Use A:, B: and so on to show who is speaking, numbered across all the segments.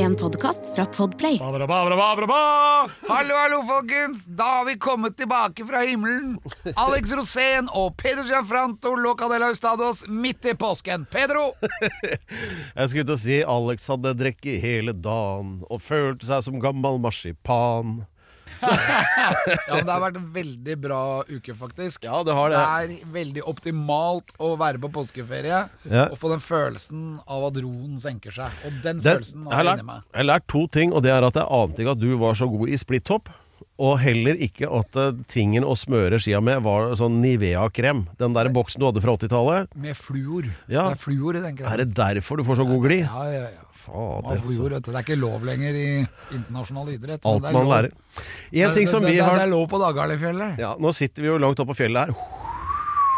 A: En podkast fra Podplay.
B: Babra, babra, babra, ba!
C: Hallo, hallo, folkens! Da har vi kommet tilbake fra himmelen. Alex Rosén og Peder Gianfranto Locadella Ustados midt i påsken. Pedro!
D: Jeg skulle til å si Alex hadde drukket hele dagen og følte seg som gammel marsipan.
C: Ja, men Det har vært en veldig bra uke, faktisk.
D: Ja, det har det.
C: er veldig optimalt å være på påskeferie
D: Ja.
C: og få den følelsen av at roen senker seg. Og den
D: Det, jeg,
C: følelsen
D: har
C: har jeg
D: lært,
C: inni meg.
D: jeg har lært to ting, og det er at jeg ante ikke at du var så god i splitthopp. Og heller ikke at eh, tingen å smøre skia med var sånn Nivea-krem. Den der boksen du hadde fra 80-tallet.
C: Med fluor.
D: Ja.
C: Det er fluor i den
D: Er
C: kremen.
D: det derfor du får så god glid?
C: Ja, ja, ja. Av
D: Fader, så-
C: fluor, vet du. Det er ikke lov lenger i internasjonal idrett. men
D: Alt
C: det er
D: man
C: lov.
D: lærer. En ting som
C: det,
D: vi
C: det,
D: har
C: det er lov på Dagalefjellet.
D: Ja, nå sitter vi jo langt oppe på fjellet her.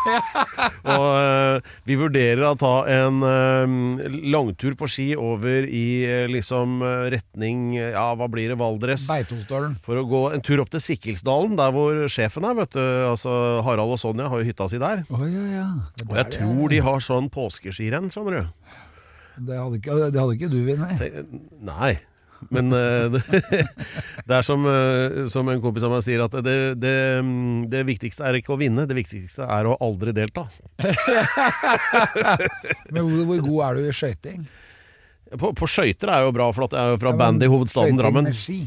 D: Og eh, vi vurderer å ta en eh, langtur på ski over i eh, liksom eh, retning eh, Ja, hva blir det? Valdres.
C: Beitostølen.
D: For å gå en tur opp til Sikkilsdalen, der hvor sjefen er. vet du Altså Harald og Sonja har jo hytta si der.
C: Å ja, ja. Det,
D: Og jeg tror de har sånn påskeskirenn, skjønner du.
C: det, hadde ikke, det hadde ikke du vunnet.
D: Te- Nei. Men eh, det, det er som, eh, som en kompis av meg sier, at det, det, mm, det viktigste er ikke å vinne, det viktigste er å aldri delta.
C: Men hvor, hvor god er du i skøyting?
D: På, på skøyter er jo bra, for at jeg er jo fra
C: Ja, men
D: bandyhovedstaden
C: skøyting
D: Drammen.
C: med ski.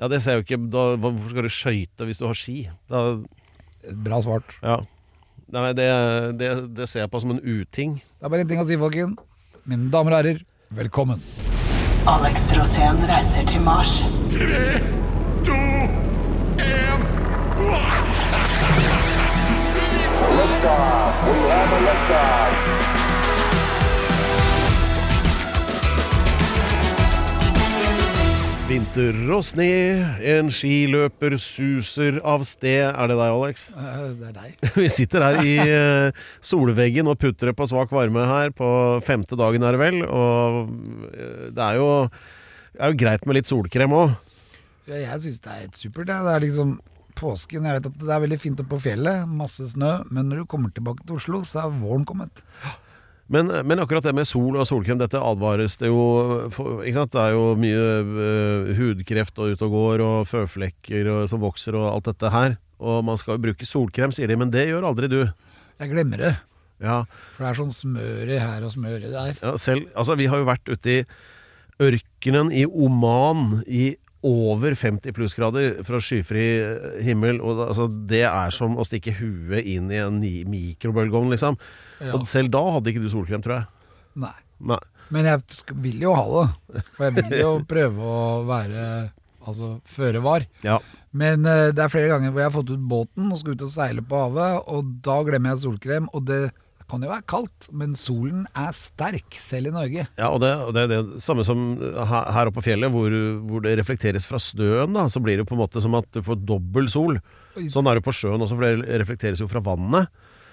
D: Ja, det ser jeg jo ikke da, Hvorfor skal du skøyte hvis du har ski? Da,
C: Bra svart.
D: ja. Nei, det, det, det ser jeg på som en uting.
C: Det er bare én ting å si, folken. Mine damer og herrer, velkommen.
E: Alex Rosén reiser til Mars.
D: Vinter og sne, en skiløper suser av sted. Er det deg, Alex?
C: Eh, Det er deg.
D: Vi sitter her i eh, solveggen og putter det på svak varme her på femte dagen, er det vel. Og eh, det er jo, det er jo greit med litt solkrem òg.
C: Ja, Jeg syns det er helt supert. jeg. Det er liksom påsken. Jeg vet at det er veldig fint oppe på fjellet, masse snø. Men når du kommer tilbake til Oslo, så er våren kommet.
D: Men, men akkurat det med sol og solkrem, dette advares det jo for, ikke sant? Det er jo mye eh, hudkreft og ut og går, og føflekker og, som vokser og alt dette her. Og man skal jo bruke solkrem, sier de, men det gjør aldri du.
C: Jeg glemmer det.
D: Ja,
C: For det er sånn smør i her og smør i der.
D: ja selv, altså Vi har jo vært ute i ørkenen i Oman i over 50 plussgrader fra skyfri himmel. Og da, altså, det er som å stikke huet inn i en ni- mikrobølgeovn, liksom.
C: Ja.
D: Og selv da hadde ikke du solkrem, tror jeg.
C: Nei.
D: Nei.
C: Men jeg sk- vil jo ha det. For jeg vil jo prøve å være altså føre var.
D: Ja.
C: Men eh, det er flere ganger hvor jeg har fått ut båten og skal ut og seile på havet, og da glemmer jeg solkrem. Og det kan jo være kaldt, men solen er sterk, selv i Norge.
D: Ja, og det, og det er det samme som her her oppe på fjellet, hvor, hvor det reflekteres fra snøen, da, så blir det på en måte som at du får dobbel sol. Sånn er det på sjøen også, for det reflekteres jo fra vannet.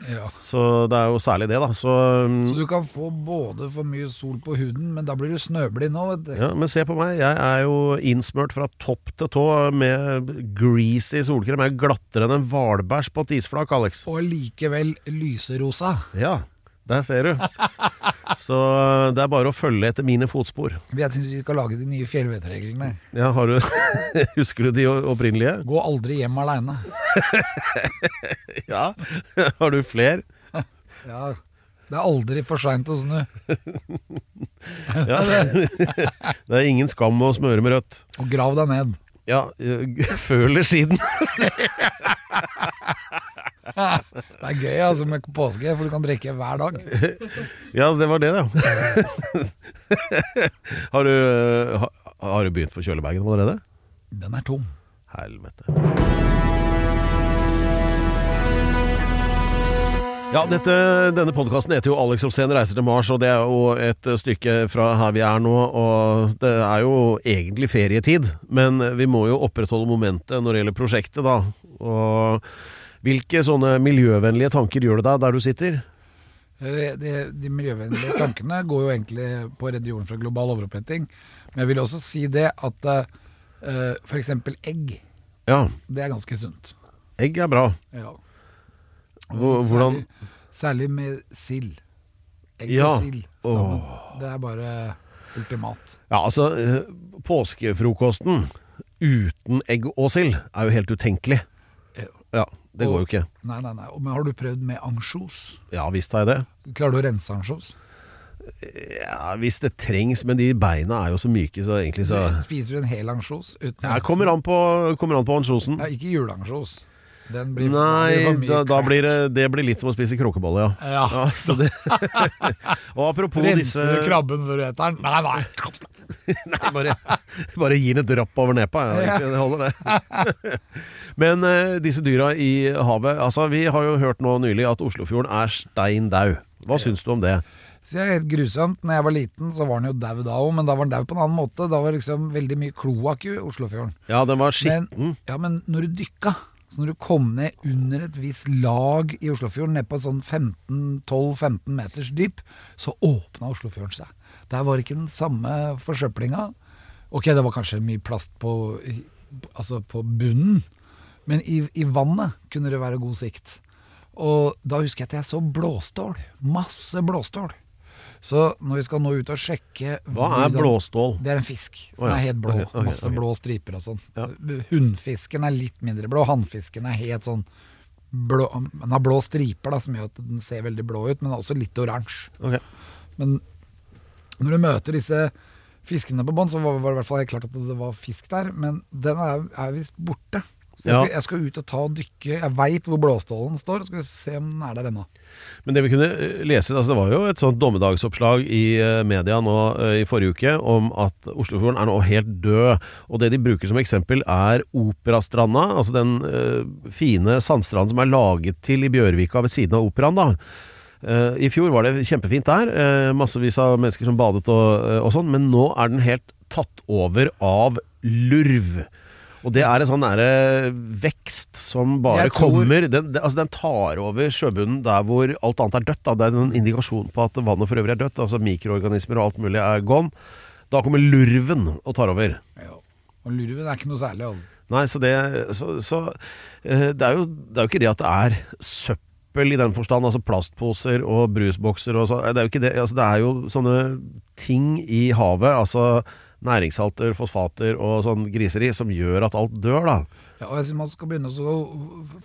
C: Ja.
D: Så det er jo særlig det, da. Så,
C: Så
D: mm,
C: du kan få både for mye sol på huden, men da blir du snøblind nå, vet du.
D: ja, men se på meg, jeg er jo innsmørt fra topp til tå med greasy solkrem. Jeg er glattere enn en hvalbæsj på et isflak, Alex.
C: Og likevel lyserosa.
D: Ja, der ser du. Så det er bare å følge etter mine fotspor.
C: Jeg syns vi skal lage de nye fjellvettreglene.
D: Ja, har du Husker du de opprinnelige?
C: Gå aldri hjem aleine.
D: Ja. Har du fler?
C: Ja. Det er aldri for seint å snu.
D: Ja, det det er ingen skam å smøre med rødt.
C: Og grav deg ned.
D: Ja, eh, før eller siden.
C: Det er gøy altså med påske, for du kan drikke hver dag.
D: Ja, det var det, ja. Har du, eh, ha- har du begynt på kjølebagen allerede?
C: Den er tom.
D: Helvete. Ja, dette, denne podkasten heter jo 'Alex Obscen reiser til Mars', og det er jo et stykke fra her vi er nå. Og det er jo egentlig ferietid, men vi må jo opprettholde momentet når det gjelder prosjektet, da. Og hvilke sånne miljøvennlige tanker gjør det deg der du sitter?
C: Eh, De, de miljøvennlige tankene går jo egentlig på å redde jorden fra global overoppheting. Men jeg vil også si det at eh, for eksempel egg,
D: Ja,
C: det er ganske sunt.
D: egg er bra.
C: Ja.
D: Hvor- hvordan-
C: Særlig, særlig med sild. Egg
D: Ja.
C: og sild sammen. Det er bare ultimat.
D: Ja, altså, eh, påskefrokosten uten egg og sild er jo helt utenkelig.
C: Ja.
D: Ja, det går jo ikke.
C: Nei, nei, nei. Men har du prøvd med ansjos?
D: Ja, visst har jeg det.
C: Klarer du å rense ansjos?
D: Ja, hvis det trengs, men de beina er jo så myke, så egentlig så
C: Spiser du en hel ansjos? uten-
D: Jeg kommer an på, kommer an på ansjosen.
C: Nei, ikke juleansjos. Den blir
D: Nei,
C: for mye
D: da, da
C: crack.
D: blir det, det blir litt som å spise krokebolle, ja.
C: Ja.
D: så det. Og apropos disse
C: Renser du krabben før du eter den? Nei, nei.
D: Nei, bare, bare gi den et rapp over nepa. Ja. egentlig. Det holder, det. Men eh, disse dyra i havet Altså, Vi har jo hørt nå nylig at Oslofjorden er stein dau. Hva syns du om det?
C: Så det er helt grusomt. Når jeg var liten, så var den jo dau da òg, men da var den dau på en annen måte. Da var det liksom veldig mye kloakk i Oslofjorden.
D: Ja, den var
C: Men,
D: skitten.
C: ja, men når du dykka, så når du kom ned under et visst lag i Oslofjorden, ned på et sånn 15 12-15 meters dyp, så åpna Oslofjorden seg. Der var ikke den samme forsøplinga. Ok, det var kanskje mye plast på, i- altså på bunnen, men i, i vannet kunne det være god sikt. Og da husker jeg at jeg så blåstål. Masse blåstål. Så når vi skal nå ut og sjekke
D: Hva er
C: hvordan-
D: blåstål?
C: det er en fisk. Den
D: Å, ja.
C: er helt blå.
D: Ok, ok,
C: Masse
D: ok.
C: blå striper og sånn.
D: Ja.
C: Hunnfisken er litt mindre blå. Hannfisken er helt sånn blå. Den har blå striper, da, som gjør at den ser veldig blå ut, men også litt oransje.
D: Ok.
C: Men når du møter disse fiskene på bånn, så var var det i hvert fall helt klart at det var fisk der, men den er, er visst borte. Så jeg,
D: Ja.
C: skal, jeg skal ut og ta og dykke. Jeg veit hvor blåstålen står, og skal se om den er der ennå.
D: Men det vi kunne eh, lese, altså det var jo et sånt dommedagsoppslag i eh, media nå eh, i forrige uke om at Oslofjorden er nå helt død. Og det de bruker som eksempel er Operastranda, altså den eh, fine sandstranden som er laget til i Bjørvika ved siden av operaen, da. Eh, I fjor var det kjempefint der, eh, massevis av mennesker som badet og, og sånn, men nå er den helt tatt over av lurv. Og det er en sånn nære vekst som bare
C: Jeg tror-
D: kommer den, den, altså den tar over sjøbunnen der hvor alt annet er dødt. Da. Det er en indikasjon på at vannet for øvrig er dødt. Altså Mikroorganismer og alt mulig er gone. Da kommer lurven og tar over.
C: Og lurven er ikke noe særlig. altså.
D: Nei, så det Så, så eh, det, er jo, det er jo ikke det at det er søppel i den forstand. Altså plastposer og brusbokser og sånn. Det er jo ikke det. Altså, det er jo sånne ting i havet. Altså næringssalter, fosfater og sånn griseri som gjør at alt dør, da.
C: Ja, og jeg synes Man skal begynne å så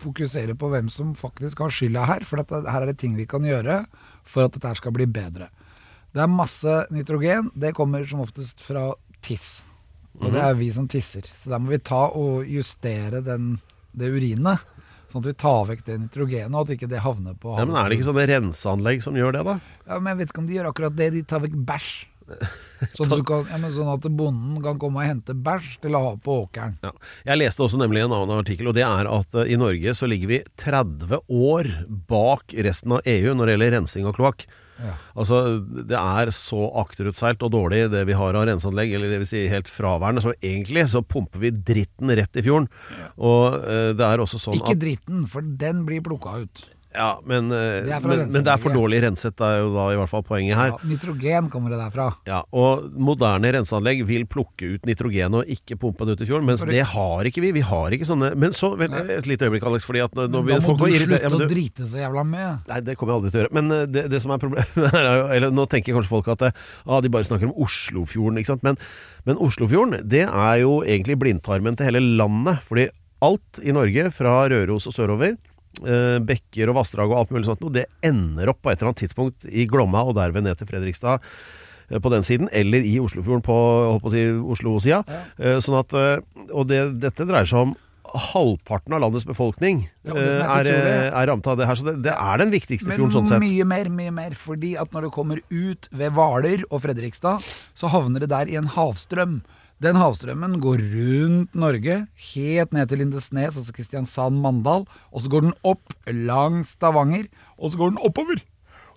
C: fokusere på hvem som faktisk har skylda her. For at det- her er det ting vi kan gjøre for at dette her skal bli bedre. Det er masse nitrogen. Det kommer som oftest fra tiss. Og det
D: Mhm.
C: er vi som tisser. Så der må vi ta og justere den, det urinet. Sånn at vi tar vekk det nitrogenet, og at ikke det havner på
D: Ja, men er det ikke sånne renseanlegg som gjør det, da?
C: Ja, men jeg vet ikke om de gjør akkurat det. De tar vekk bæsj. Sånn at, du kan, ja, men sånn at bonden kan komme og hente bæsj til å ha på åkeren.
D: Ja. Jeg leste også nemlig en annen artikkel, og det er at eh, i Norge så ligger vi 30 år bak resten av EU når det gjelder rensing av kloakk.
C: Ja.
D: Altså, det er så akterutseilt og dårlig det vi har av renseanlegg, eller det vil si helt fraværende, så egentlig så pumper vi dritten rett i fjorden. Og eh, det er også sånn
C: Ikke
D: at
C: dritten, for den blir plukka ut.
D: Ja, men, eh,
C: Det er fra
D: men, men det er for
C: renseanlegget.
D: dårlig renset, det er jo da i hvert fall poenget her.
C: Ja, nitrogen kommer det derfra.
D: Ja, og moderne renseanlegg vil plukke ut nitrogen og ikke pumpe det ut i fjorden, mens
C: For det-
D: det har ikke vi. Vi har ikke sånne Men så, vel, et lite øyeblikk, Alex, fordi at nå nå
C: da
D: begynner
C: må
D: folk å
C: du
D: irritere
C: slutte
D: ja, men
C: å
D: du-
C: drite så jævla mye.
D: Nei, det kommer jeg aldri til å gjøre. Men eh, det, det som er problemet her er jo Eller nå tenker kanskje folk at eh, ah, de bare snakker om Oslofjorden, ikke sant. Men, men Oslofjorden, det er jo egentlig blindtarmen til hele landet. Fordi alt i Norge, fra Røros og sørover, eh, bekker og vassdrag og alt mulig sånt noe, det ender opp på et eller annet tidspunkt i Glomma og derved ned til Fredrikstad eh, på den siden, eller i Oslofjorden på jeg håper å si, Oslo-sida. Eh, Sånn at, eh, og det, dette dreier seg om halvparten av landets befolkning
C: Ja, og det
D: eh,
C: som er
D: er,
C: utrolig-
D: eh, er rammet av det her. Så det, det er den viktigste
C: Men
D: fjorden sånn sett.
C: mye mer, mye mer. Fordi at når du kommer ut ved Hvaler og Fredrikstad, så havner det der i en havstrøm. Den havstrømmen går rundt Norge, helt ned til Lindesnes, altså Kristiansand, Mandal. Og så går den opp langs Stavanger, og så går den oppover.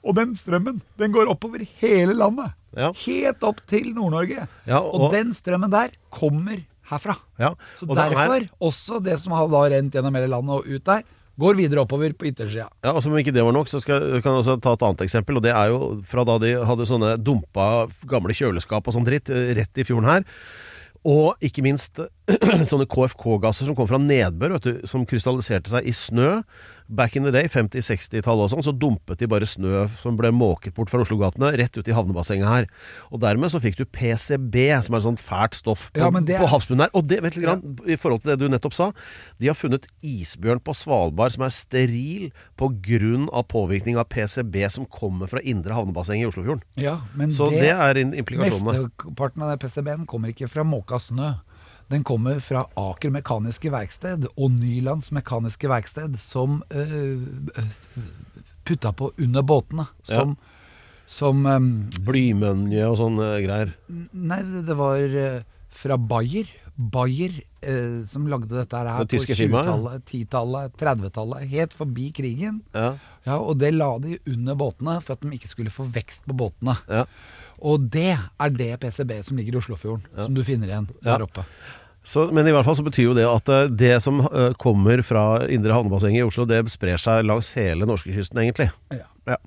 C: Og den strømmen, den går oppover hele landet.
D: Ja.
C: Helt opp til Nord-Norge.
D: Ja,
C: og,
D: og-
C: den strømmen der kommer herfra.
D: Ja,
C: Så
D: og det er-
C: derfor, også det som har da rent gjennom hele landet og ut der, Går videre oppover på yttersida.
D: Ja, altså Om ikke det var nok, så skal, kan jeg også ta et annet eksempel. og Det er jo fra da de hadde sånne dumpa gamle kjøleskap og sånn dritt eh, rett i fjorden her. Og ikke minst sånne KFK-gasser som kom fra nedbør, vet du, som krystalliserte seg i snø. Back in the day, 50-60-tallet og sånn, så dumpet de bare snø som ble måket bort fra Oslogatene, rett ut i havnebassenget her. Og dermed så fikk du PCB, som er et sånt fælt stoff på,
C: Ja, men det er-
D: på havsbunnen her. Og det, vent litt grann, i forhold til det du nettopp sa, de har funnet isbjørn på Svalbard som er steril på grunn av påvirkning av PCB som kommer fra indre havnebasseng i Oslofjorden.
C: Ja, men
D: Så det, er in- implikasjonene.
C: Mesteparten av den PCB-en kommer ikke fra måka snø. Den kommer fra Aker Mekaniske Verksted og Nylands Mekaniske Verksted, som eh, putta på under båtene.
D: Ja.
C: Som, som eh,
D: Blymønje og sånne greier.
C: Nei, det var eh, fra Bayer. Bayer eh, som lagde dette her
D: Det
C: på
D: tyske firmaet?
C: 20-tallet, 10-tallet, 30-tallet, helt forbi krigen.
D: Ja.
C: Ja, og det la de under båtene for at de ikke skulle få vekst på båtene.
D: Ja.
C: Og det er det PCB som ligger i Oslofjorden, som du finner igjen der
D: Ja.
C: oppe.
D: Så, men i hvert fall så betyr jo det at eh, det som eh, kommer fra indre havnebassenget i Oslo, det sprer seg langs hele norskekysten, egentlig.
C: Ja.
D: Ja.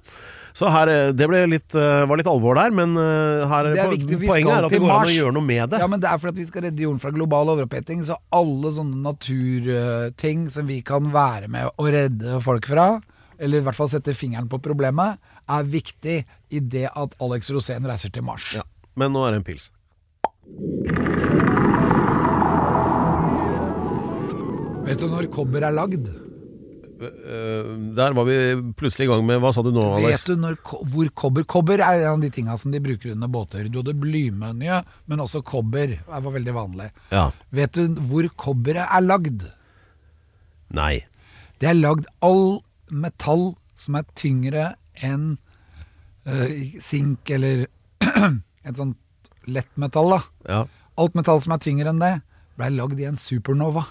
D: Så her, eh, det ble litt, eh, var litt alvor der, men eh, her,
C: Det er
D: po-
C: viktig, vi
D: poenget
C: skal
D: er at det
C: til
D: går an
C: Mars.
D: å gjøre noe med det.
C: Ja, men det er for at vi skal redde jorden fra global overoppheting, så alle sånne naturting som vi kan være med å redde folk fra, eller i hvert fall sette fingeren på problemet, er viktig i det at Alex Rosén reiser til Mars.
D: Ja. Men nå er det en pils.
C: Vet du når kobber er lagd?
D: Eh, der var vi plutselig i gang med Hva sa du nå, Alex?
C: Vet du når, ko- hvor kobber Kobber er en av de tinga som de bruker under båter. Du hadde blymønje, men også kobber. Det var veldig vanlig.
D: Ja.
C: Vet du hvor kobberet er lagd?
D: Nei.
C: Det er lagd all metall som er tyngre enn eh, sink eller et sånt lettmetall. da.
D: Ja.
C: Alt metall som er tyngre enn det, ble lagd i en supernova.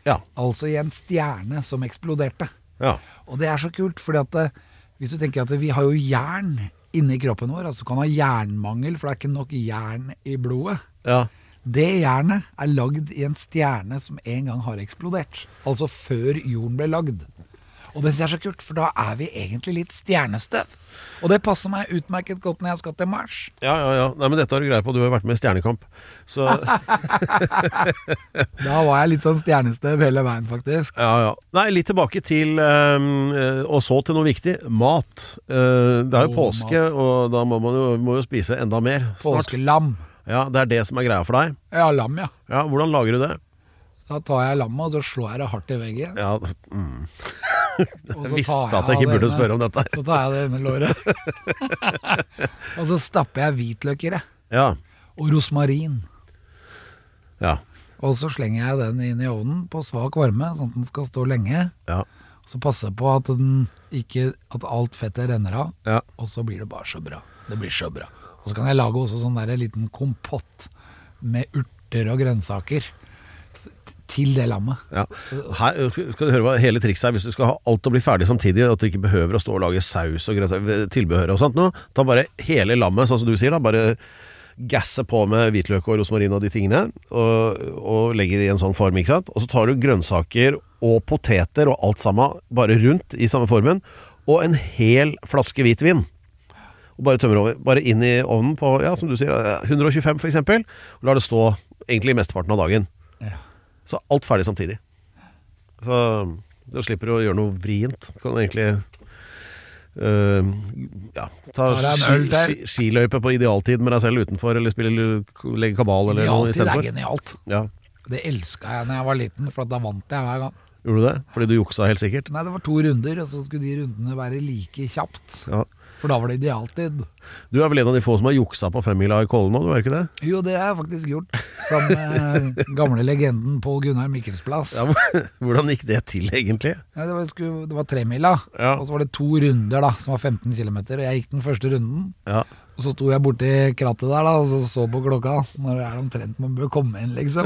D: Ja.
C: Altså i en stjerne som eksploderte.
D: ja.
C: Og det er så kult, fordi at eh, hvis du tenker at vi har jo jern inni kroppen vår, altså du kan ha jernmangel, for det er ikke nok jern i blodet.
D: ja.
C: Det jernet er lagd i en stjerne som en gang har eksplodert. Altså før jorden ble lagd. Og det synes jeg er så kult, for da er vi egentlig litt stjernestøv. Og det passer meg utmerket godt når jeg skal til Mars.
D: Ja, ja, ja. Nei, men dette har du greie på. Du har jo vært med i Stjernekamp. Så ja,
C: Da var jeg litt sånn stjernestøv hele veien, faktisk.
D: ja. Nei, litt tilbake til ehm, eh, Og så til noe viktig. Mat. Eh, det er jo
C: Åh,
D: påske, og da må man jo, må jo spise enda mer snart.
C: Påskelam.
D: Ja, Det er det som er greia for deg.
C: Ja, lam, ja.
D: Ja, Hvordan lager du det?
C: Da tar jeg lammet, og så slår jeg det hardt i veggen.
D: Ja, mm. Jeg
C: Og så tar
D: visste at jeg
C: av
D: ikke burde
C: denne-
D: spørre om dette. her.
C: Så tar jeg det ene låret. og så stapper jeg hvitløk i det.
D: Ja,
C: Og rosmarin.
D: ja,
C: Og så slenger jeg den inn i ovnen på svak varme, sånn at den skal stå lenge.
D: ja.
C: Så passe på at, den ikke, at alt fettet renner av,
D: Ja.
C: og så blir det bare så bra. Det blir så bra. Og så kan jeg lage også sånn der liten kompott med urter og grønnsaker s- til det lammet.
D: Ja. Her skal skal du høre hva hele trikset er. Hvis du skal ha alt å bli ferdig samtidig, at du ikke behøver å stå og lage saus og grønnsaker, tilbehør og sånt nå, ta bare hele lammet, sånn som du sier, da. Bare gasse på med hvitløk og rosmarin og de tingene, og, og legger det i en sånn form, ikke sant. Og så tar du grønnsaker og poteter og alt sammen bare rundt i samme formen, og en hel flaske hvitvin. Og bare tømmer over. Bare inn i ovnen på, ja, som du sier, eh, 125 for eksempel, og lar det stå egentlig mesteparten av dagen. Så alt ferdig samtidig. Så da slipper du å gjøre noe vrient. Kan du egentlig øh, ja, ta
C: Tar deg en
D: ski,
C: øl der.
D: ski, skiløype på idealtid med deg selv utenfor, eller spille lu- legge kabal eller noe
C: Genialt, det er
D: istedenfor.
C: genialt.
D: Ja.
C: Det elska jeg da jeg var liten, for at da vant jeg hver gang.
D: Gjorde du det? Fordi du juksa helt sikkert?
C: Nei, det var to runder, og så skulle de rundene være like kjapt.
D: Ja.
C: For da var det idealtid.
D: Du er vel en av de få som har juksa på femmila i Kollen nå, du er ikke det?
C: Jo, det har jeg faktisk gjort. Sammen med gamle legenden Pål Gunnar Mikkelsplass.
D: Ja, hvordan gikk det til, egentlig?
C: Nei, det var, skulle, det var tremila,
D: Ja.
C: og så var det to runder da, som var 15 km. Og jeg gikk den første runden,
D: Ja.
C: og så sto jeg borti krattet der da, og så så på klokka. Når det er omtrent man bør komme inn, liksom.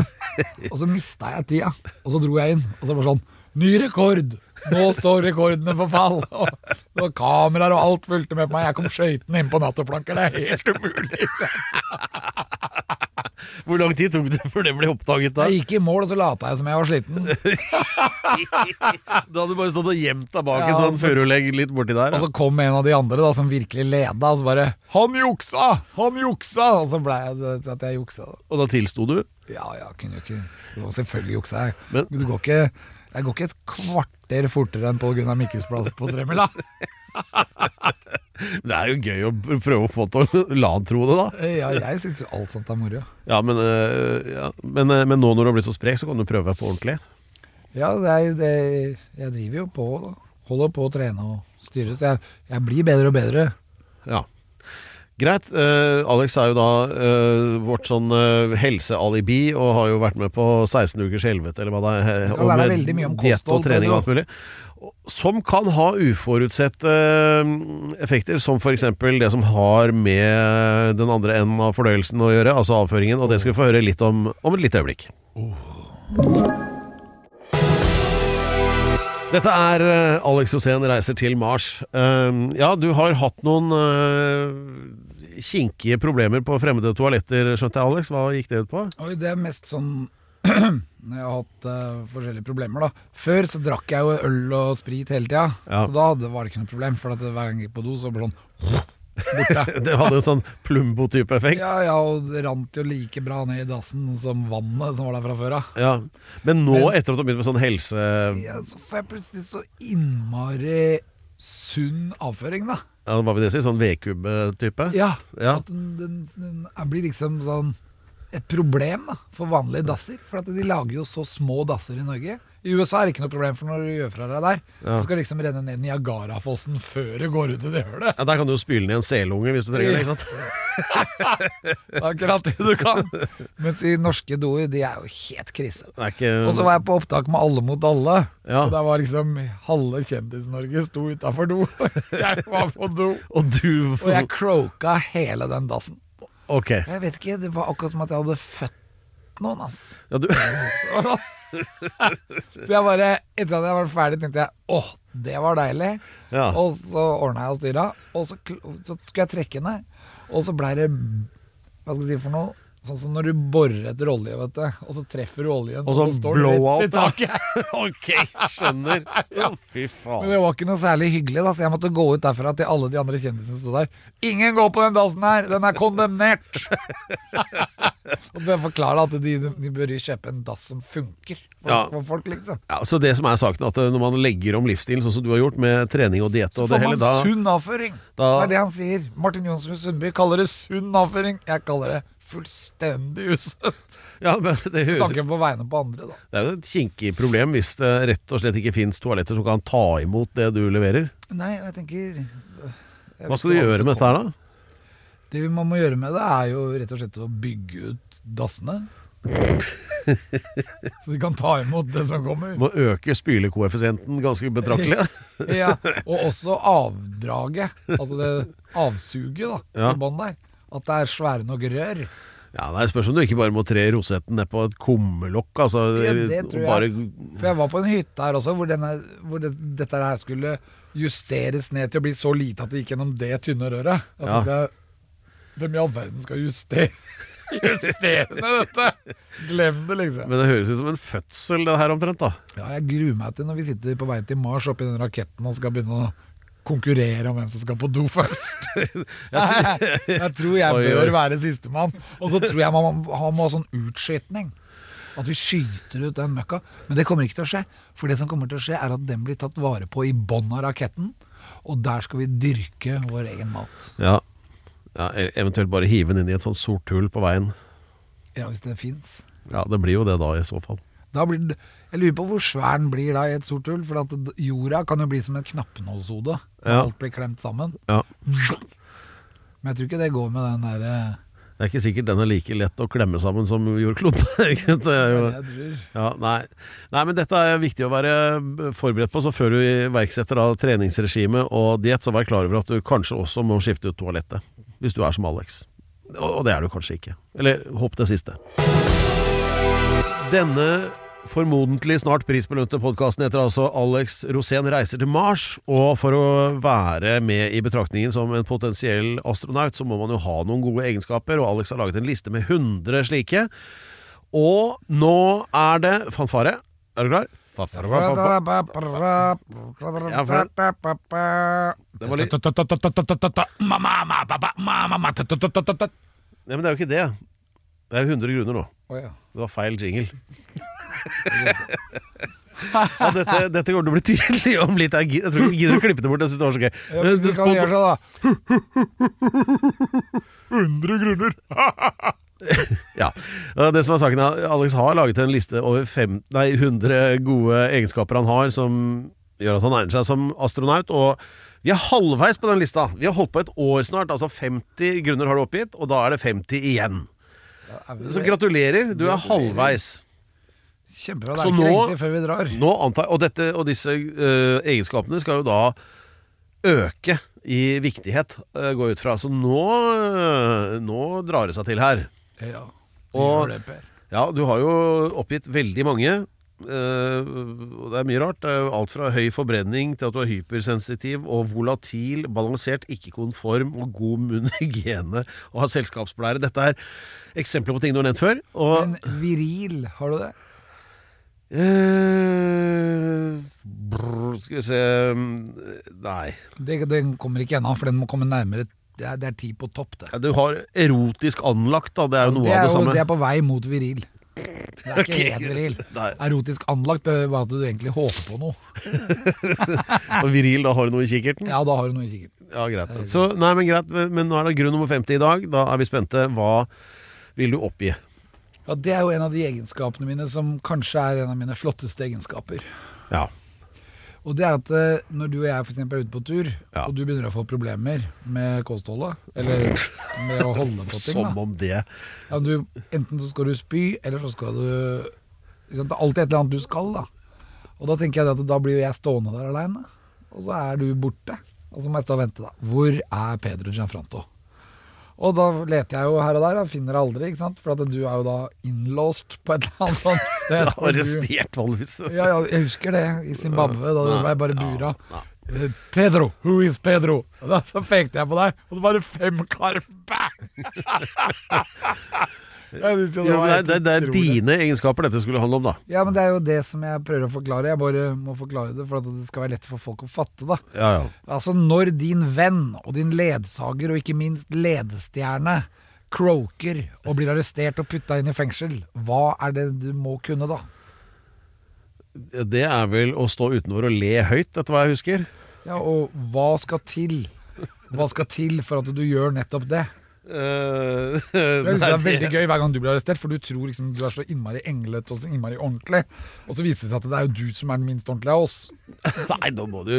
C: Og så mista jeg tida, og så dro jeg inn, og så var det sånn Ny rekord! Nå står rekordene på fall! Og det var kameraer og alt fulgte med på meg. Jeg kom skøytende inn på nattoplanker. Det er helt umulig!
D: Hvor lang tid tok det før det ble oppdaget da?
C: Jeg gikk i mål, og så lata jeg som jeg var sliten.
D: Da hadde du bare stått og gjemt deg bak en
C: Ja, altså-
D: sånn furulegg litt borti der.
C: Og så kom en av de andre da, som virkelig leda, og så bare 'Han juksa! Han juksa!' Og så blei jeg det- at jeg juksa. da.
D: Og da tilsto du?
C: Ja, ja, kunne jo ikke Det var selvfølgelig juksa jeg.
D: Men-
C: Men du går ikke Jeg går ikke et kvarter fortere enn Pål Gunnar Mikkels plass på tremila.
D: Det er jo gøy å pr- prøve å få til å la han tro det, da.
C: Ja, jeg syns jo alt sånt er moro.
D: Ja, men, øh, ja. Men, øh, men nå når du har blitt så sprek, så kan du prøve deg på ordentlig.
C: Ja, det er jo det Jeg driver jo på, da. Holder på å trene og styre, så jeg, jeg blir bedre og bedre.
D: Ja. Greit. eh, Alex er jo da eh, vårt sånn eh, helsealibi og har jo vært med på 16 ukers helvete, eller hva det er. eh,
C: Ja,
D: og
C: der er
D: med
C: veldig mye om
D: diett og
C: kosthold,
D: trening og alt
C: Pedro.
D: mulig. Og- Som kan ha uforutsette eh, effekter, som f.eks. det som har med den andre enden av fordøyelsen å gjøre, altså avføringen, og det skal vi få høre litt om om et lite øyeblikk. Dette er eh, Alex Rosén reiser til Mars. Eh, ja, du har hatt noen eh, kinkige problemer på fremmede toaletter, skjønte jeg, Alex. Hva gikk det ut på?
C: Oi, det er mest sånn Når jeg har hatt eh, forskjellige problemer, da. Før så drakk jeg jo øl og sprit hele tida.
D: Ja.
C: Så da hadde, var det ikke noe problem, for at hver gang jeg gikk på do, så ble det sånn borte.
D: Det hadde en sånn Plumbo-type effekt.
C: Ja, ja, og det rant jo like bra ned i dassen som vannet som var der fra før av.
D: Ja. Men nå,
C: Men-
D: etter at du har begynt med sånn helse...
C: Ja, så får jeg plutselig så innmari sunn avføring, da.
D: Ja, hva vil det si? Sånn V-kubbe-type?
C: Ja.
D: Ja.
C: At den, den, den er- blir liksom sånn et problem da, for vanlige dasser. For at de lager jo så små dasser i Norge. I USA er det ikke noe problem, for når du gjør fra deg der,
D: Ja.
C: så skal det liksom renne ned Niagarafossen før det går ut i det hølet.
D: Ja, der kan du jo spyle ned en selunge hvis du trenger det. ikke sant?
C: Det er akkurat det du kan. Mens de norske doer, de er jo helt krise.
D: Det er ikke...
C: Og så var jeg på opptak med Alle mot alle.
D: Ja.
C: Og der var liksom halve Kjendis-Norge sto utafor do. Jeg var på do.
D: Og du...
C: Og jeg croaka hele den dassen.
D: Ok.
C: Jeg vet ikke, det var akkurat som at jeg hadde født noen, ass.
D: Ja, du...
C: For jeg bare, etter at jeg var ferdig, tenkte jeg åh, det var deilig.
D: Ja.
C: Og så ordna jeg og styra, og så, kl- så skulle jeg trekke ned. Og så blei det Hva skal jeg si for noe? Sånn som når du borer etter olje, vet du. Og så treffer du oljen,
D: Og sånn
C: så står den litt
D: blowout.
C: i taket.
D: ja. ok, skjønner. Ja, fy faen.
C: Men det var ikke noe særlig hyggelig, da, så jeg måtte gå ut derfra til alle de andre kjendisene som sto der. Ingen går på den dassen her! Den er kondemnert! og så forklare at de, de bør jo kjøpe en dass som funker for,
D: Ja.
C: for folk, liksom.
D: Ja, så det som er saken er at eh, Når man legger om livsstilen, sånn som du har gjort, med trening og diett
C: Så
D: og det
C: får
D: hele,
C: man
D: da
C: sunn avføring.
D: da-
C: Det er det han sier. Martin Johnsen Sundby kaller det sunn avføring. Jeg kaller det fullstendig usunt.
D: ja, men det, høres,
C: Tanken på vegne på andre, da.
D: det er jo et kinkig problem hvis det rett og slett ikke fins toaletter som kan ta imot det du leverer.
C: Nei, jeg tenker øh, jeg
D: Hva
C: vet
D: skal du
C: ikke
D: gjøre med dette her, da?
C: Det vi- man må gjøre med det, er jo rett og slett å bygge ut dassene. Så de kan ta imot det som kommer.
D: Må øke spylekoeffisienten ganske betraktelig.
C: Ja, og også avdraget. Altså det avsuget da,
D: Ja.
C: i bånn der. At det er svære nok rør.
D: Ja, nei, Spørs om du ikke bare må tre rosetten ned på et kummelokk. Altså,
C: Ja, det tror jeg.
D: og bare,
C: For jeg var på en hytte her også hvor, denne, hvor det, dette her skulle justeres ned til å bli så lite at det gikk gjennom det tynne røret. Da
D: Ja.
C: tenkte jeg, Hvem i all verden skal justere, justere ned dette? Glem det, liksom.
D: Men det høres ut som en fødsel, det her omtrent. da
C: Ja, jeg gruer meg til når vi sitter på vei til Mars oppi den raketten og skal begynne å konkurrere om hvem som skal på do først. Jeg tror jeg
D: Oi,
C: bør
D: oi.
C: være sistemann. Og så tror jeg man må, man må ha sånn utskytning. At vi skyter ut den møkka. Men det kommer ikke til å skje. For det som kommer til å skje, er at den blir tatt vare på i bånn av raketten. Og der skal vi dyrke vår egen mat.
D: Ja. ja e- Eventuelt bare hive den inn i et sånt sort hull på veien.
C: Ja, hvis det fins.
D: Ja, Det blir jo det da, i så fall.
C: Da blir det, jeg lurer på hvor svær den blir da i et sort hull. For at d- jorda kan jo bli som en knappenålshode. når
D: Ja.
C: Alt blir klemt sammen.
D: Ja
C: Men jeg tror ikke det går med den eh, derre
D: Det er ikke sikkert den er like lett å klemme sammen som jordkloden. ikke sant? Det er jo- Ja, nei. nei, men dette er viktig å være forberedt på. Så før du iverksetter da treningsregime og diett, så vær klar over at du kanskje også må skifte ut toalettet. Hvis du er som Alex. Og og det er du kanskje ikke. Eller håp det siste. Denne formodentlig snart prisbelønte podkasten heter altså Alex Rosén reiser til Mars. Og for å være med i betraktningen som en potensiell astronaut, så må man jo ha noen gode egenskaper, og Alex har laget en liste med 100 slike. Og nå er det fanfare. Er du klar? Fanfare. Det var litt Nei, men det er jo ikke det. Det er jo 100 grunner nå.
C: Å, ja.
D: Det var feil jingle. ja, dette, dette kommer til å bli tydelig om litt. Jeg gid- jeg tror ikke vi gidder å klippe det bort. Jeg synes det var så gøy.
C: Ja, men
D: Men
C: Vi kan gjøre sånn.
D: spon-
C: det, da.
B: 100 grunner.
D: ja. Det som er saken er, Alex har laget en liste over fem, nei, 100 gode egenskaper han har som gjør at han egner seg som astronaut. Og vi er halvveis på den lista. Vi har holdt på et år snart. Altså 50 grunner har du oppgitt, og da er det 50 igjen. Så gratulerer. Du er halvveis.
C: Kjempebra. Det
D: Så
C: er ikke
D: nå-
C: riktig før vi drar.
D: Nå antar, og, dette, og disse eh, egenskapene skal jo da øke i viktighet, uh, gå ut fra. Så nå, eh, nå drar det seg til her.
C: Ja,
D: Og-
C: gjør det, Per.
D: Ja, du har jo oppgitt veldig mange. eh, og det er mye rart. Det er jo alt fra høy forbrenning til at du er hypersensitiv og volatil, balansert, ikke konform og god munnhygiene og har selskapsplære. Dette er eksempler på ting du har nevnt før. Og
C: Men viril, har du det?
D: Eh, brr, Skal vi se mm, Nei.
C: det? Den kommer ikke ennå, for den må komme nærmere. Det er, det er ti på topp, det.
D: Ja, Du har erotisk anlagt, da. Det er jo noe
C: det, er
D: av det
C: jo,
D: samme.
C: det er på vei mot viril. Det er ikke
D: Ok.
C: helt viril.
D: Nei.
C: Erotisk anlagt behøver at du egentlig håper på noe.
D: Og viril, da har du noe i kikkerten?
C: Ja, da har du noe i kikkerten.
D: Ja, greit. Så, nei, men greit. Men nå er det grunn nummer 50 i dag. Da er vi spente. Hva vil du oppgi?
C: Ja, det er jo en av de egenskapene mine som kanskje er en av mine flotteste egenskaper.
D: Ja.
C: Og det er at eh, når du og jeg for eksempel er ute på tur,
D: Ja.
C: og du begynner å få problemer med kostholdet, eller med å holde på ting,
D: Som
C: da.
D: om det
C: Ja, du, enten så skal du spy, eller så skal du ikke sant, Det er alltid et eller annet du skal, da. Og da tenker jeg at da blir jo jeg stående der aleine, og så er du borte. Og så må jeg stå og vente, da. Hvor er Pedro Gianfranto? Og da leter jeg jo her og der, og finner det aldri, ikke sant. For at du er jo da innlåst på et eller annet sånt sted. og du-
D: Arrestert, vanligvis.
C: ja, ja, jeg husker det i Zimbabwe. Da
D: Ja.
C: ble jeg bare bura. Eh, Pedro, who is Pedro? Og da, så pekte jeg på deg, og det var fem karer bang! Jeg synes jo
D: Jo, men
C: var
D: det,
C: helt
D: er- det, det er
C: utrolig.
D: dine egenskaper dette skulle handle om, da.
C: Ja, men det er jo det som jeg prøver å forklare. Jeg bare må forklare det for at det skal være lett for folk å fatte, da.
D: Ja, ja.
C: Altså, når din venn og din ledsager og ikke minst ledestjerne croaker og blir arrestert og putta inn i fengsel, hva er det du må kunne da?
D: Det er vel å stå utenfor og le høyt, etter hva jeg husker.
C: Ja, og hva skal til? Hva skal til for at du gjør nettopp det?
D: Uh,
C: Jeg synes det er veldig gøy hver gang du blir arrestert, for du tror liksom du er så innmari englete og så innmari ordentlig. Og så viser det seg at det er jo du som er den minst ordentlige av oss.
D: Nei, da må du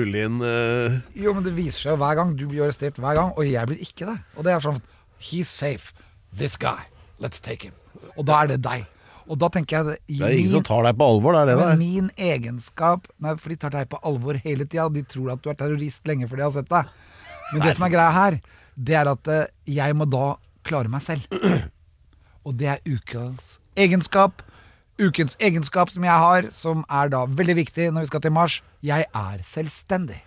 D: rulle inn eh,
C: Jo, men det viser seg hver gang. Du blir arrestert hver gang, og jeg blir ikke det. Og det er sånn He's safe. This guy. Let's take him. Og da er det deg. Og da tenker jeg i
D: Det er ingen
C: min-
D: som tar deg på alvor, det er det det
C: Men
D: er.
C: min egenskap Nei, for de tar deg på alvor hele tida. De tror at du er terrorist lenge før de har sett deg. Men det som er greia her, det er at eh, jeg må da klare meg selv. Og det er ukas egenskap. Ukens egenskap som jeg har, som er da veldig viktig når vi skal til Mars. Jeg er selvstendig.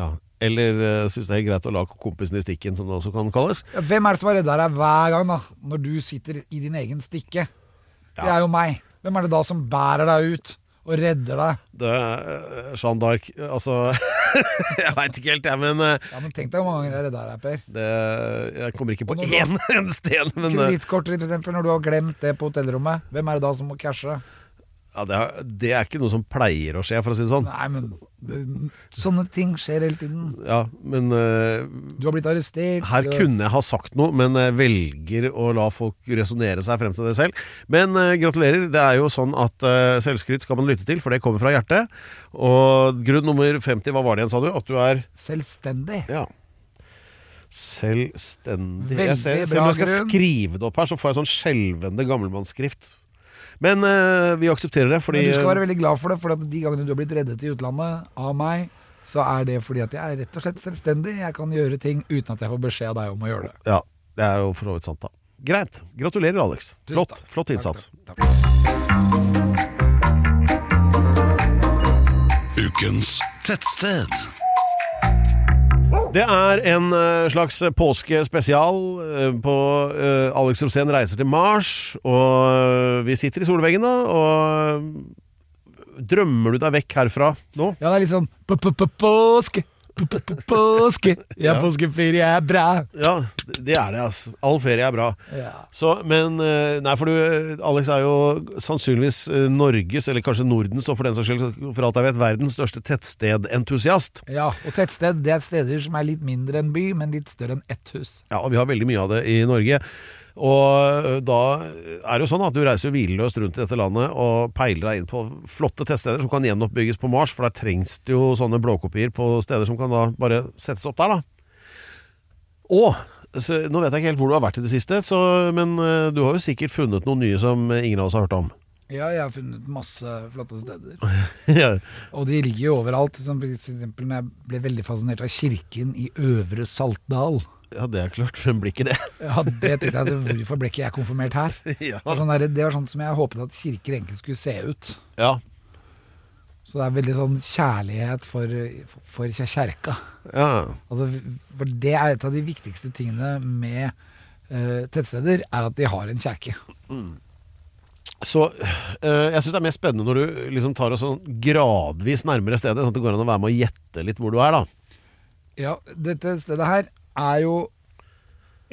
D: Ja. Eller uh, syns det er helt greit å la kompisen i stikken, som det også kan kalles.
C: Ja, Hvem er det som er redder deg hver gang, da? Når du sitter i din egen stikke. Det er jo meg. Hvem er det da som bærer deg ut og redder deg?
D: Det er Jeanne d'Arc Altså Jeg veit ikke helt, jeg, men eh,
C: Ja, men Tenk deg hvor mange ganger jeg redder deg, Per.
D: det, Jeg kommer ikke på
C: Og når
D: én en sted, men eh,
C: Kredittkortet ditt, for eksempel, når du har glemt det på hotellrommet, hvem er det da som må cashe?
D: ja, det, er, det er ikke noe som pleier å skje, for å si det sånn.
C: Nei, men det- Sånne ting skjer hele tiden.
D: Ja, men eh,
C: Du har blitt arrestert.
D: Her
C: du-
D: kunne jeg ha sagt noe, men jeg velger å la folk resonnere seg frem til det selv. Men eh, gratulerer. Det er jo sånn at eh, selvskryt skal man lytte til, for det kommer fra hjertet. Og grunn nummer 50, hva var det igjen, sa du? At du er
C: Selvstendig.
D: ja, selvstendig.
C: Veldig
D: Jeg ser, ser
C: bra
D: om jeg skal
C: grunn.
D: skrive det opp her, så får jeg sånn skjelvende gammelmannsskrift. Men eh, vi aksepterer det, fordi eh,
C: Men du skal være veldig glad for det, for at de gangene du har blitt reddet i utlandet av meg, så er det fordi at jeg er rett og slett selvstendig. Jeg kan gjøre ting uten at jeg får beskjed av deg om å gjøre det.
D: Ja, det er jo for så vidt sant, da. Greit. Gratulerer, Alex.
C: Tusen
D: Flott,
C: takk.
D: flott innsats.
C: Takk, takk.
F: Ukens tettsted.
D: Det er en eh, slags påskespesial eh, på eh, Alex Rosén reiser til Mars, og eh, vi sitter i solveggen da, og eh, drømmer du deg vekk herfra nå?
C: Ja, det er litt sånn p-p-p-påske, p-p-p-påske, ja,
D: Ja.
C: påskeferie er bra.
D: Ja, det er det, altså. All ferie er bra.
C: Ja.
D: Så, men eh, Nei, for du, Alex er jo sannsynligvis eh, Norges, eller kanskje Nordens, og for den saks skyld, for alt jeg vet, verdens største tettstedentusiast.
C: Ja, og tettsted det er steder som er litt mindre enn by, men litt større enn ett hus.
D: Ja, og vi har veldig mye av det i Norge. Og ø, da er det jo sånn at du reiser jo hvileløst rundt i dette landet og peiler deg inn på flotte tettsteder som kan gjenoppbygges på Mars, for der trengs det jo sånne blåkopier på steder som kan da bare settes opp der, da. Og så, nå vet jeg ikke helt hvor du har vært i det siste, så, men ø, du har jo sikkert funnet noen nye som ingen av oss har hørt om.
C: Ja, jeg har funnet masse flotte steder.
D: ja.
C: Og de ligger jo overalt. Som for eksempel når jeg ble veldig fascinert av kirken i Øvre Saltdal.
D: ja, det er klart. Hvem blir ikke det?
C: Ja, det tenkte jeg, altså, Hvorfor ble ikke jeg konfirmert her?
D: ja.
C: Det var, sånn der, det var sånn som jeg håpet at kirker egentlig skulle se ut.
D: ja.
C: Så det er veldig sånn kjærlighet for, for kjerka.
D: Ja.
C: Altså, for det er et av de viktigste tingene med eh, tettsteder, er at de har en kjerke.
D: Så øh, jeg syns det er mer spennende når du liksom tar oss sånn gradvis nærmere stedet, sånn at det går an å være med å gjette litt hvor du er, da.
C: Ja, dette stedet her er jo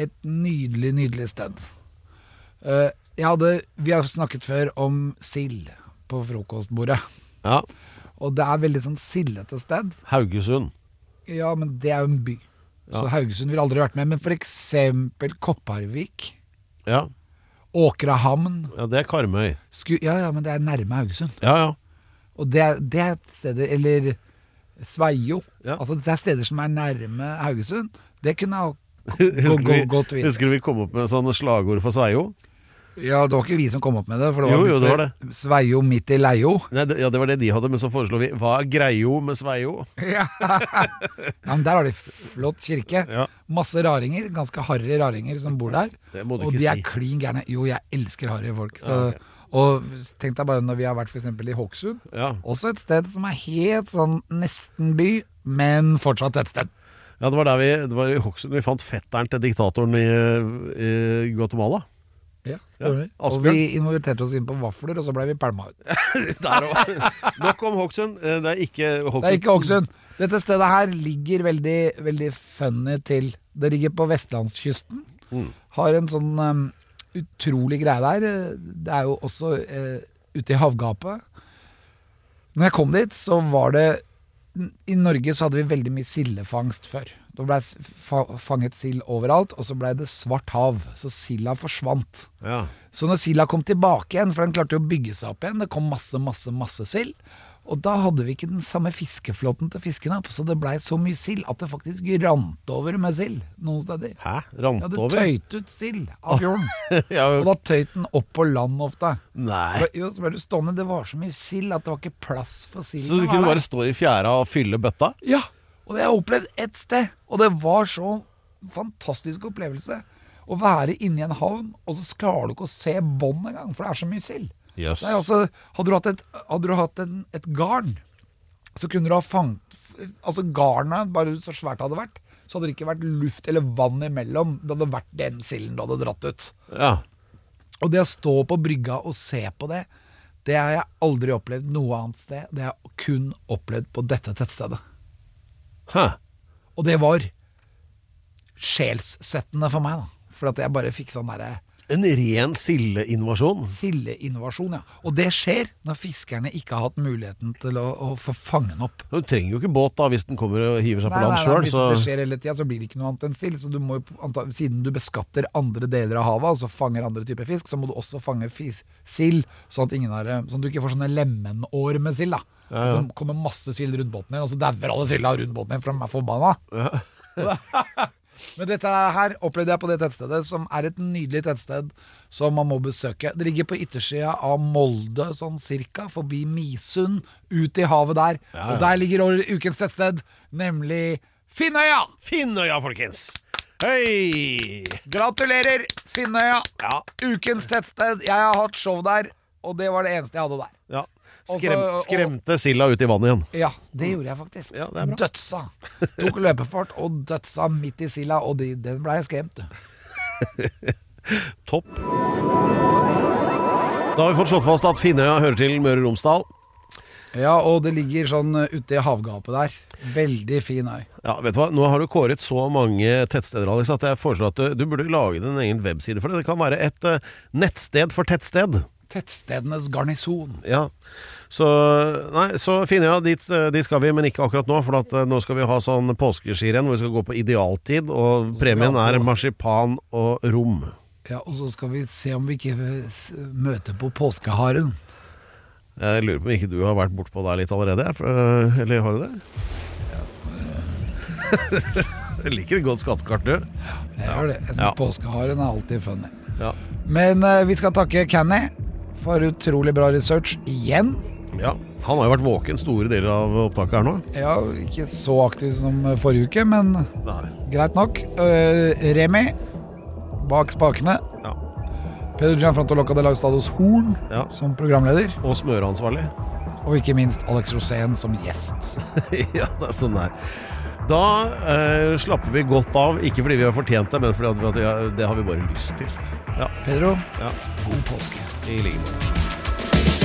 C: et nydelig, nydelig sted. Eh, jeg hadde, vi har snakket før om sild på frokostbordet.
D: Ja.
C: Og det er veldig sånn sildete sted.
D: Haugesund.
C: Ja, men det er jo en by. Så Haugesund ville aldri vært med. Men for eksempel Kopparvik,
D: Ja.
C: Åkrahamn
D: ja, det er Karmøy.
C: Sku, Ja, ja, men det er nærme Haugesund.
D: Ja, ja.
C: Og det, er- det er steder Eller Sveio.
D: Ja.
C: Altså, det er steder som er nærme Haugesund. Det kunne ha gå-
D: Husker
C: gå- gått
D: du vi,
C: videre.
D: husker du vi kom opp med sånne slagord for Sveio?
C: Ja, det var ikke vi som kom opp med det. For det var
D: Jo, jo, det var
C: Sveio midt i leio.
D: Nei, det, ja, det var det de hadde, men så foreslo vi Hva er greio med Sveio?
C: Ja. ja, men der har de flott kirke.
D: Ja.
C: Masse raringer, ganske harry raringer som bor der.
D: Det må du
C: og
D: ikke
C: de er
D: si.
C: klin gærne. Jo, jeg elsker harry folk. Så,
D: Ja, ok.
C: Og tenk deg bare når vi har vært f.eks. i Hokksund.
D: Ja.
C: Også et sted som er helt sånn nesten by, men fortsatt et sted.
D: ja, det var der vi det var i Hokksund vi fant fetteren til diktatoren i, i Guatemala.
C: Ja,
D: stemmer.
C: og vi inviterte oss inn på vafler, og så ble vi pælma ut.
D: Der òg. Nok om Hokksund. Eh, Det er ikke Hokksund.
C: Det er ikke Hokksund. Dette stedet her ligger veldig, veldig funny til. Det ligger på vestlandskysten. Har en sånn um, utrolig greie der. Det er jo også eh, ute i havgapet. Når jeg kom dit, så var det I Norge så hadde vi veldig mye sildefangst før. Da blei fa fanget sild overalt, og så blei det svart hav. Så silda forsvant.
D: Ja.
C: Så når silda kom tilbake igjen, for den klarte jo å bygge seg opp igjen, det kom masse, masse, masse sild, og da hadde vi ikke den samme fiskeflåten til fiskene, så det blei så mye sild at det faktisk rant over med sild noen steder.
D: Hæ? Rant
C: Ja, det
D: over?
C: tøyt ut sild av fjorden,
D: ja,
C: og da tøyt den opp på land ofte.
D: nei.
C: Og- Jo, så ble du stående, det var så mye sild at det var ikke plass for silden.
D: Så du
C: å
D: kunne
C: være
D: bare stå i fjæra og fylle bøtta?
C: Ja, og det har jeg opplevd ett sted. Og det var så fantastisk opplevelse å være inne i en havn, og så klarer du ikke å se bånd engang, for det er så mye sild.
D: Jøss.
C: Det er Altså, hadde du hatt, et, hadde du hatt en, et garn, så kunne du ha fanget Altså garnet, bare så svært det hadde vært, så hadde det ikke vært luft eller vann imellom. Det hadde vært den silden du hadde dratt ut.
D: Ja.
C: Og det å stå på brygga og se på det, det har jeg aldri opplevd noe annet sted. Det har jeg kun opplevd på dette tettstedet.
D: Hæ.
C: Og det var sjelssettende for meg, da. For at jeg bare fikk sånn derre
D: En ren sildeinvasjon?
C: sildeinvasjon, ja. Og det skjer når fiskerne ikke har hatt muligheten til å, å få fange den opp.
D: Du trenger jo ikke båt da hvis den kommer og hiver seg på land
C: hvis
D: sjøl,
C: det
D: så
C: skjer hele tida, så blir det ikke noe annet enn sild. Så du må jo, anta, siden du beskatter andre deler av havet, altså fanger andre typer fisk, så må du også fange fis, sild, sånn at, ingen har, sånn at du ikke får sånne lemenår med sild, da. Det kommer masse sild rundt båten din, og så dauer alle silda rundt båten din, for de er forbanna. Men dette her opplevde jeg på det tettstedet, som er et nydelig tettsted som man må besøke. Det ligger på yttersida av Molde, sånn cirka, forbi Misund, ut i havet der. Og der ligger år- ukens tettsted, nemlig Finnøya!
D: Finnøya, folkens! Hei!
C: Gratulerer, Finnøya!
D: Ja.
C: Ukens tettsted. Jeg har hatt show der, og det var det eneste jeg hadde der.
D: ja.
C: Og så-
D: Skrem,
C: og-
D: skremte silda ut i vannet igjen.
C: Ja, det gjorde jeg faktisk.
D: Ja, det er bra.
C: Dødsa. Tok løpefart og dødsa midt i silda, og de, den blei skremt, du.
D: Topp. Da har vi fått slått fast at Finnøya hører til Møre og Romsdal.
C: Ja, og det ligger sånn uti havgapet der. Veldig fin øy.
D: Ja, vet du hva? Nå har du kåret så mange tettsteder, Alex, at jeg foreslår at du, du burde lage din egen webside for det. Det kan være et eh, nettsted for tettsted.
C: Tettstedenes garnison.
D: Ja. Så, nei, så Finnøya, dit, eh, dit skal vi, men ikke akkurat nå. For at, eh, nå skal vi ha sånn påskeskirenn hvor vi skal gå på idealtid, og premien er marsipan og rom.
C: Ja, Og så skal vi se om vi ikke eh, s- møter på påskeharen.
D: Jeg lurer på om ikke du har vært bortpå der litt allerede? jeg, For, eh, eller har du det? Jeg liker et godt skattekart, du.
C: Jeg gjør det. Jeg syns
D: Ja.
C: påskeharen er alltid funny.
D: Ja.
C: Men eh, vi skal takke Canny for utrolig bra research igjen.
D: ja. Han har jo vært våken store deler av opptaket her nå.
C: Ja, ikke så aktiv som forrige uke, men
D: Nei.
C: greit nok. Eh, Remi bak spakene.
D: Ja.
C: Peder Gianfranto Locca de Lagstados Horn
D: Ja.
C: som programleder.
D: Og smøreansvarlig.
C: Og ikke minst Alex Rosén som gjest.
D: ja, det er sånn det er. Da eh, slapper vi godt av, ikke fordi vi har fortjent det, men fordi at, vi- at vi- det har vi bare lyst til. Ja,
C: Pedro,
D: ja,
C: god påske.
D: i like måte.